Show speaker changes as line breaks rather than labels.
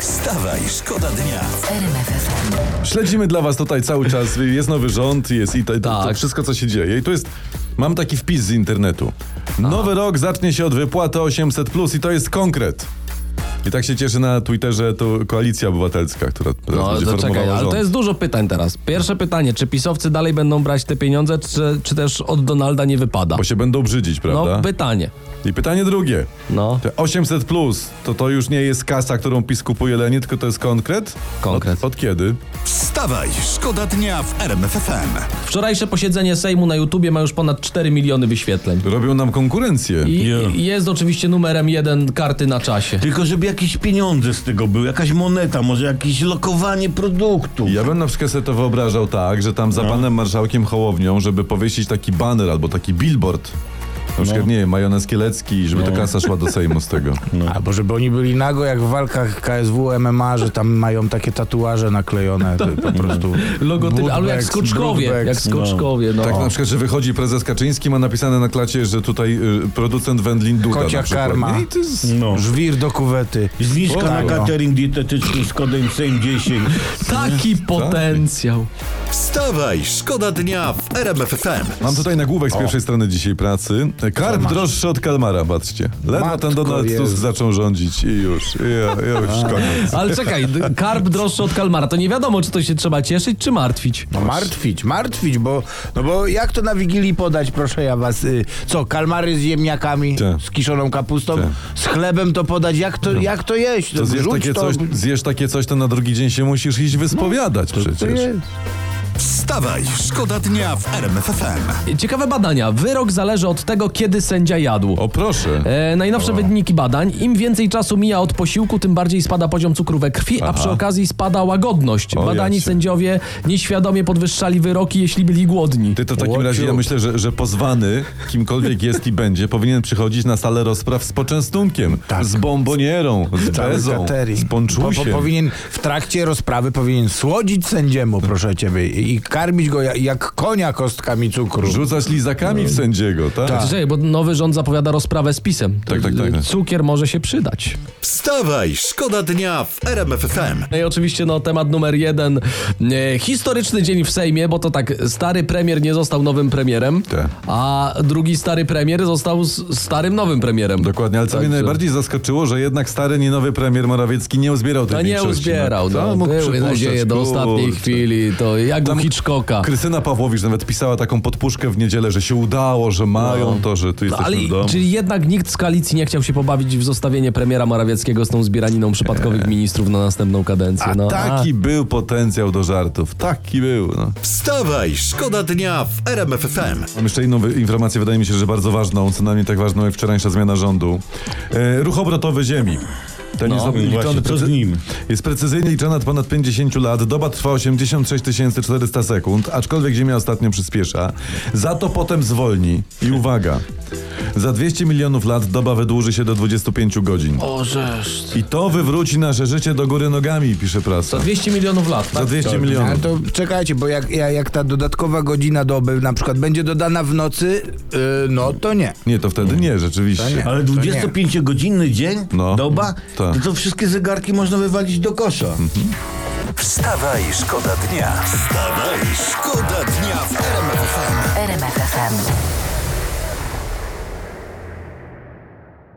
Wstawaj, szkoda dnia.
Śledzimy dla was tutaj cały czas, jest nowy rząd, jest i to, to, to
Tak.
wszystko, co się dzieje. I tu jest, mam taki wpis z internetu. Nowy rok zacznie się od wypłaty 800+, plus i to jest konkret. I tak się cieszy na Twitterze to Koalicja Obywatelska, która teraz
No,
będzie
to
formowała
czekaj, ale
rząd.
to jest dużo pytań teraz. Pierwsze pytanie, czy pisowcy dalej będą brać te pieniądze, czy, czy też od Donalda nie wypada?
Bo się będą brzydzić, prawda?
No, pytanie.
I pytanie drugie.
No.
Te 800+, plus, to to już nie jest kasa, którą PiS kupuje lenie, tylko to jest konkret?
Konkret.
Od, od kiedy?
Wstawaj, szkoda dnia w RMFFM.
Wczorajsze posiedzenie Sejmu na YouTubie ma już ponad 4 miliony wyświetleń.
Robią nam konkurencję.
I
Yeah.
i jest oczywiście numerem jeden karty na czasie.
Tylko żeby jakieś pieniądze z tego były, jakaś moneta, może jakieś lokowanie produktu.
Ja bym na przykład sobie to wyobrażał tak, że tam za panem marszałkiem Hołownią, żeby powiesić taki baner albo taki billboard. Na przykład, nie wiem, majonez kielecki, żeby to kasa szła do Sejmu z tego.
Albo żeby oni byli nago jak w walkach KSW, MMA, że tam mają takie tatuaże naklejone to, po prostu.
Logotyp, ale jak
Budbacks,
skoczkowie,
Budbacks.
jak skoczkowie, no.
Tak na przykład, że wychodzi prezes Kaczyński, ma napisane na klacie, że tutaj y, producent wędlin Duda
Kocia
na przykład.
karma.
Nie? I to jest...
No.
Żwir do kuwety.
Zniżka na
Tak, no.
catering dietetyczny z kodem SEM 10.
Taki potencjał.
Wstawaj, szkoda dnia w RMFFM.
Mam tutaj nagłówek z pierwszej strony dzisiaj pracy. Karp droższy od kalmara, patrzcie. Ledwo
Matko
ten Donald
Jezu.
Tusk zaczął rządzić i już, i, ja- już koniec.
Ale czekaj, d- karp droższy od kalmara. To nie wiadomo, czy to się trzeba cieszyć, czy martwić.
No martwić, martwić, bo, no bo jak to na Wigilii podać, proszę ja was, y, co, kalmary z ziemniakami,
Tak.
z kiszoną kapustą,
Tak.
z chlebem to podać, jak to, jak to jeść?
To zjesz
Wrzuć
takie, coś, zjesz takie coś, to na drugi dzień się musisz iść wyspowiadać
to
przecież.
jest.
Wstawaj, szkoda dnia w RMFFM.
Ciekawe badania. Wyrok zależy od tego, kiedy sędzia jadł.
O proszę.
E, najnowsze wyniki badań. Im więcej czasu mija od posiłku, tym bardziej spada poziom cukru we krwi, a przy okazji spada łagodność.
O,
Badani
jacie.
sędziowie nieświadomie podwyższali wyroki, jeśli byli głodni.
Ty to w takim razie ja myślę, że, że pozwany, kimkolwiek jest i będzie, powinien przychodzić na salę rozpraw z poczęstunkiem,
Tak.
z bombonierą, z
Cały
bezą,
catering.
z
Po, po,
ponczusiem.
powinien w trakcie rozprawy powinien słodzić sędziemu, proszę ciebie, i, i karmić go jak, jak konia kostkami cukru.
Rzucać lizakami
Mm.
w sędziego, tak?
Czekaj, bo nowy rząd zapowiada rozprawę z pisem.
Tak, tak, tak.
Cukier może się przydać.
Wstawaj, szkoda dnia w RMFFM.
No i oczywiście no, temat numer jeden. E, historyczny dzień w Sejmie, bo to tak, stary premier nie został nowym premierem,
Tak.
a drugi stary premier został s- starym nowym premierem.
Dokładnie, ale co mnie
Także-
najbardziej zaskoczyło, że jednak stary, nie nowy premier Morawiecki nie uzbierał tej
No nie
większości.
uzbierał,
Kto
no,
mógł
były
przypuszczać,
nadzieje do ostatniej
kurczę.
chwili, to jak u
Tam-
Hitchcocka.
Krystyna Pawłowicz nawet pisała taką podpuszkę w niedzielę, że się udało, że mają to, że tu
No,
jesteśmy
ale
w domu.
czyli jednak nikt z koalicji nie chciał się pobawić w zostawienie premiera Morawieckiego z tą zbieraniną przypadkowych ministrów na następną kadencję.
Eee. A
No,
taki był potencjał do żartów, taki był. No.
Wstawaj, szkoda dnia w RMFFM.
Mam jeszcze inną wy- informację, wydaje mi się, że bardzo ważną, co najmniej tak ważną jak wczorajsza zmiana rządu. E, ruch obrotowy ziemi. Ten jest obliczony
No, właśnie, co z
precy-
nim?
Jest precyzyjnie liczony od ponad 50 lat. Doba trwa 86 400 sekund, aczkolwiek Ziemia ostatnio przyspiesza. Za to potem zwolni. I uwaga, za 200 milionów lat doba wydłuży się do 25 godzin.
A. O, żeż.
I to wywróci nasze życie do góry nogami, pisze prasa.
Za 200 milionów lat,
Za
tak?
200
Ale
milionów.
to czekajcie, bo jak, ja- jak ta dodatkowa godzina doby na przykład będzie dodana w nocy, yy, no to nie.
Nie, to wtedy nie, rzeczywiście.
nie.
Ale 25-godzinny dzień,
No.
doba,
Tak. No.
to, to wszystkie zegarki można wywalić do kosza.
Wstawaj, szkoda dnia. Wstawaj, szkoda dnia w RMFFM.
RMFFM.